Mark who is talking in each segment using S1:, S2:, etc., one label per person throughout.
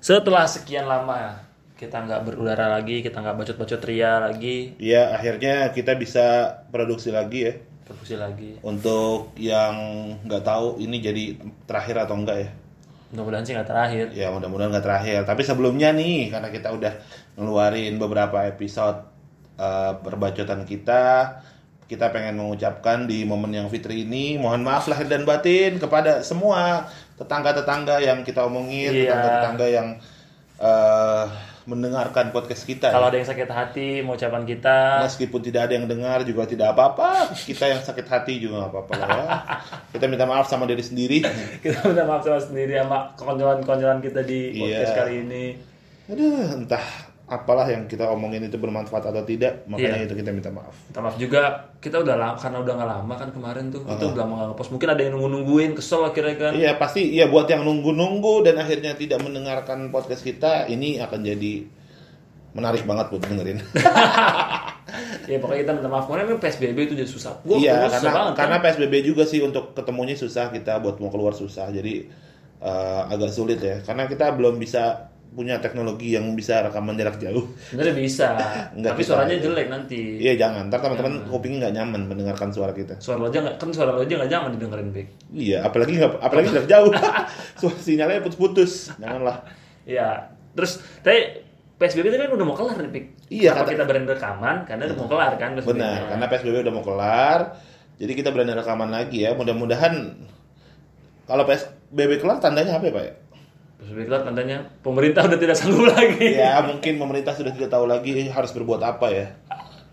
S1: Setelah sekian lama kita nggak berudara lagi, kita nggak bacot-bacot ria lagi,
S2: Iya, akhirnya kita bisa produksi lagi ya.
S1: produksi lagi.
S2: Untuk yang nggak tahu ini jadi terakhir atau enggak ya.
S1: Mudah-mudahan sih nggak terakhir.
S2: Ya mudah-mudahan nggak terakhir. Tapi sebelumnya nih, karena kita udah ngeluarin beberapa episode eh, perbacotan kita, kita pengen mengucapkan di momen yang fitri ini, mohon maaf lahir dan batin kepada semua tetangga-tetangga yang kita omongin,
S1: Iya.
S2: tetangga-tetangga yang eh, mendengarkan podcast kita.
S1: Kalau
S2: ya.
S1: ada yang sakit hati, mau ucapan kita,
S2: Meskipun tidak ada yang dengar juga tidak apa-apa. Kita yang sakit hati juga nggak apa-apa lah ya. Kita minta maaf sama diri sendiri.
S1: kita minta maaf sama sendiri sama kekonyolan-kekonyolan kita di podcast
S2: Iya.
S1: kali ini.
S2: Aduh, entah apalah yang kita omongin itu bermanfaat atau tidak, makanya
S1: Iya.
S2: itu kita minta maaf.
S1: Minta maaf juga, kita udah lama, karena udah nggak lama kan kemarin tuh, itu udah lama nggak ngepost. Mungkin ada yang nunggu-nungguin, kesel akhirnya kan.
S2: Iya pasti, iya buat yang nunggu-nunggu dan akhirnya tidak mendengarkan podcast kita, ini akan jadi menarik banget buat dengerin.
S1: Ya pokoknya kita minta maaf. Kemarin memang PSBB itu jadi susah. Gua
S2: iya,
S1: gua susah
S2: karena
S1: banget. ya. kan.
S2: karena PSBB juga sih untuk ketemunya susah kita buat mau keluar susah, jadi eh, agak sulit ya, karena kita belum bisa punya teknologi yang bisa rekaman jarak jauh.
S1: sebenarnya bisa,
S2: Nggak
S1: tapi
S2: bisa,
S1: suaranya
S2: iya.
S1: jelek nanti.
S2: Iya jangan, ntar teman-teman kupingnya nggak nyaman mendengarkan suara kita.
S1: Suara lo aja nggak, kan suara lo aja nggak jangan didengerin Bik.
S2: Iya, apalagi nggak, apalagi jarak jauh, suara sinyalnya putus-putus, janganlah.
S1: Iya. Terus tapi PSBB itu kan udah mau kelar nih Bik.
S2: Iya,
S1: Kenapa
S2: kata-
S1: kita berhenti rekaman karena udah mau kelar kan PSBB.
S2: Benar, karena PSBB udah mau kelar, jadi kita berani rekaman lagi ya. Mudah-mudahan kalau PSBB kelar tandanya apa ya, Pak? ya?
S1: PSBB kelar tandanya kan pemerintah udah tidak sanggup lagi.
S2: Ya, mungkin pemerintah sudah tidak tahu lagi eh, harus berbuat apa ya.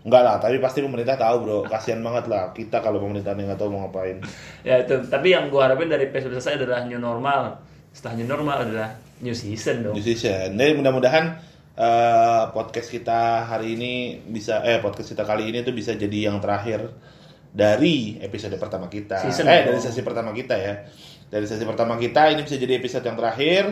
S2: Enggak lah, tapi pasti pemerintah tahu, Bro. Kasihan banget lah kita kalau pemerintah nggak tahu mau ngapain.
S1: ya itu. Tapi yang gua harapin dari PSBB selesai adalah new normal. Setelah new normal adalah new season dong.
S2: Musician. Jadi mudah-mudahan eh, podcast kita hari ini bisa eh podcast kita kali ini tuh bisa jadi yang terakhir dari episode pertama kita.
S1: Season
S2: eh
S1: dong.
S2: dari sesi pertama kita ya. Dari sesi pertama kita ini bisa jadi episode yang terakhir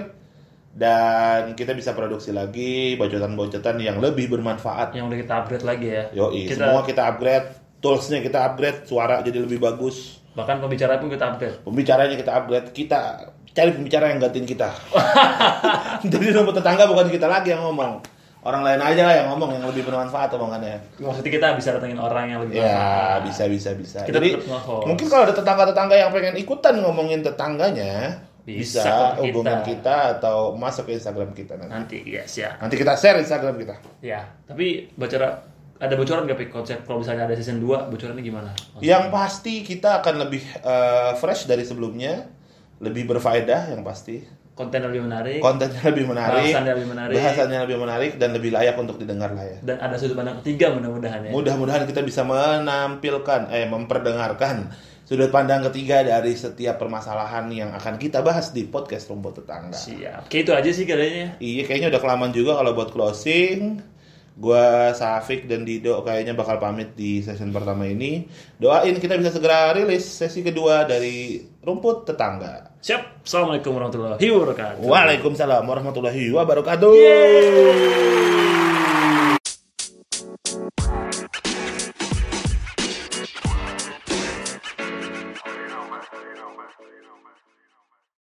S2: dan kita bisa produksi lagi bacotan-bacotan yang lebih bermanfaat.
S1: Yang udah kita upgrade lagi ya.
S2: Yoi,
S1: Kita-
S2: semua kita upgrade, toolsnya kita upgrade, suara jadi lebih bagus,
S1: Bahkan pembicara pun kita upgrade.
S2: pembicaranya kita upgrade, kita cari pembicara yang gantiin kita. Jadi rumah tetangga bukan kita lagi yang ngomong. Orang lain aja lah yang ngomong yang lebih bermanfaat omongannya.
S1: Maksudnya kita bisa datengin orang yang lebih
S2: Ya,
S1: bermanfaat.
S2: bisa bisa bisa.
S1: Kita
S2: Jadi
S1: tetap nge-host.
S2: mungkin kalau ada tetangga-tetangga yang pengen ikutan ngomongin tetangganya,
S1: Bisa
S2: bisa,
S1: ke kita.
S2: hubungan kita atau masuk ke Instagram kita nanti.
S1: Nanti, yes ya.
S2: Nanti kita share Instagram kita.
S1: Ya, tapi bocoran ada bocoran nggak Pik, konsep kalau misalnya ada season 2 bocorannya gimana?
S2: Yang pasti kita akan lebih eh, fresh dari sebelumnya, lebih berfaedah yang pasti.
S1: Konten lebih menarik
S2: Kontennya lebih menarik,
S1: Bahasannya lebih menarik.
S2: bahasannya lebih menarik dan lebih layak untuk didengar lah ya.
S1: dan ada sudut pandang ketiga mudah-mudahan ya.
S2: Mudah-mudahan kita bisa menampilkan, eh memperdengarkan sudut pandang ketiga dari setiap permasalahan yang akan kita bahas di podcast Rumput Tetangga.
S1: Siap. Kayak itu aja sih kayaknya.
S2: Iya, kayaknya udah kelamaan juga kalau buat closing. Gua Safik dan Dido kayaknya bakal pamit di session pertama ini. Doain kita bisa segera rilis sesi kedua dari Rumput Tetangga.
S1: Siap. Assalamualaikum warahmatullahi wabarakatuh.
S2: Waalaikumsalam warahmatullahi wabarakatuh.
S1: Yeay.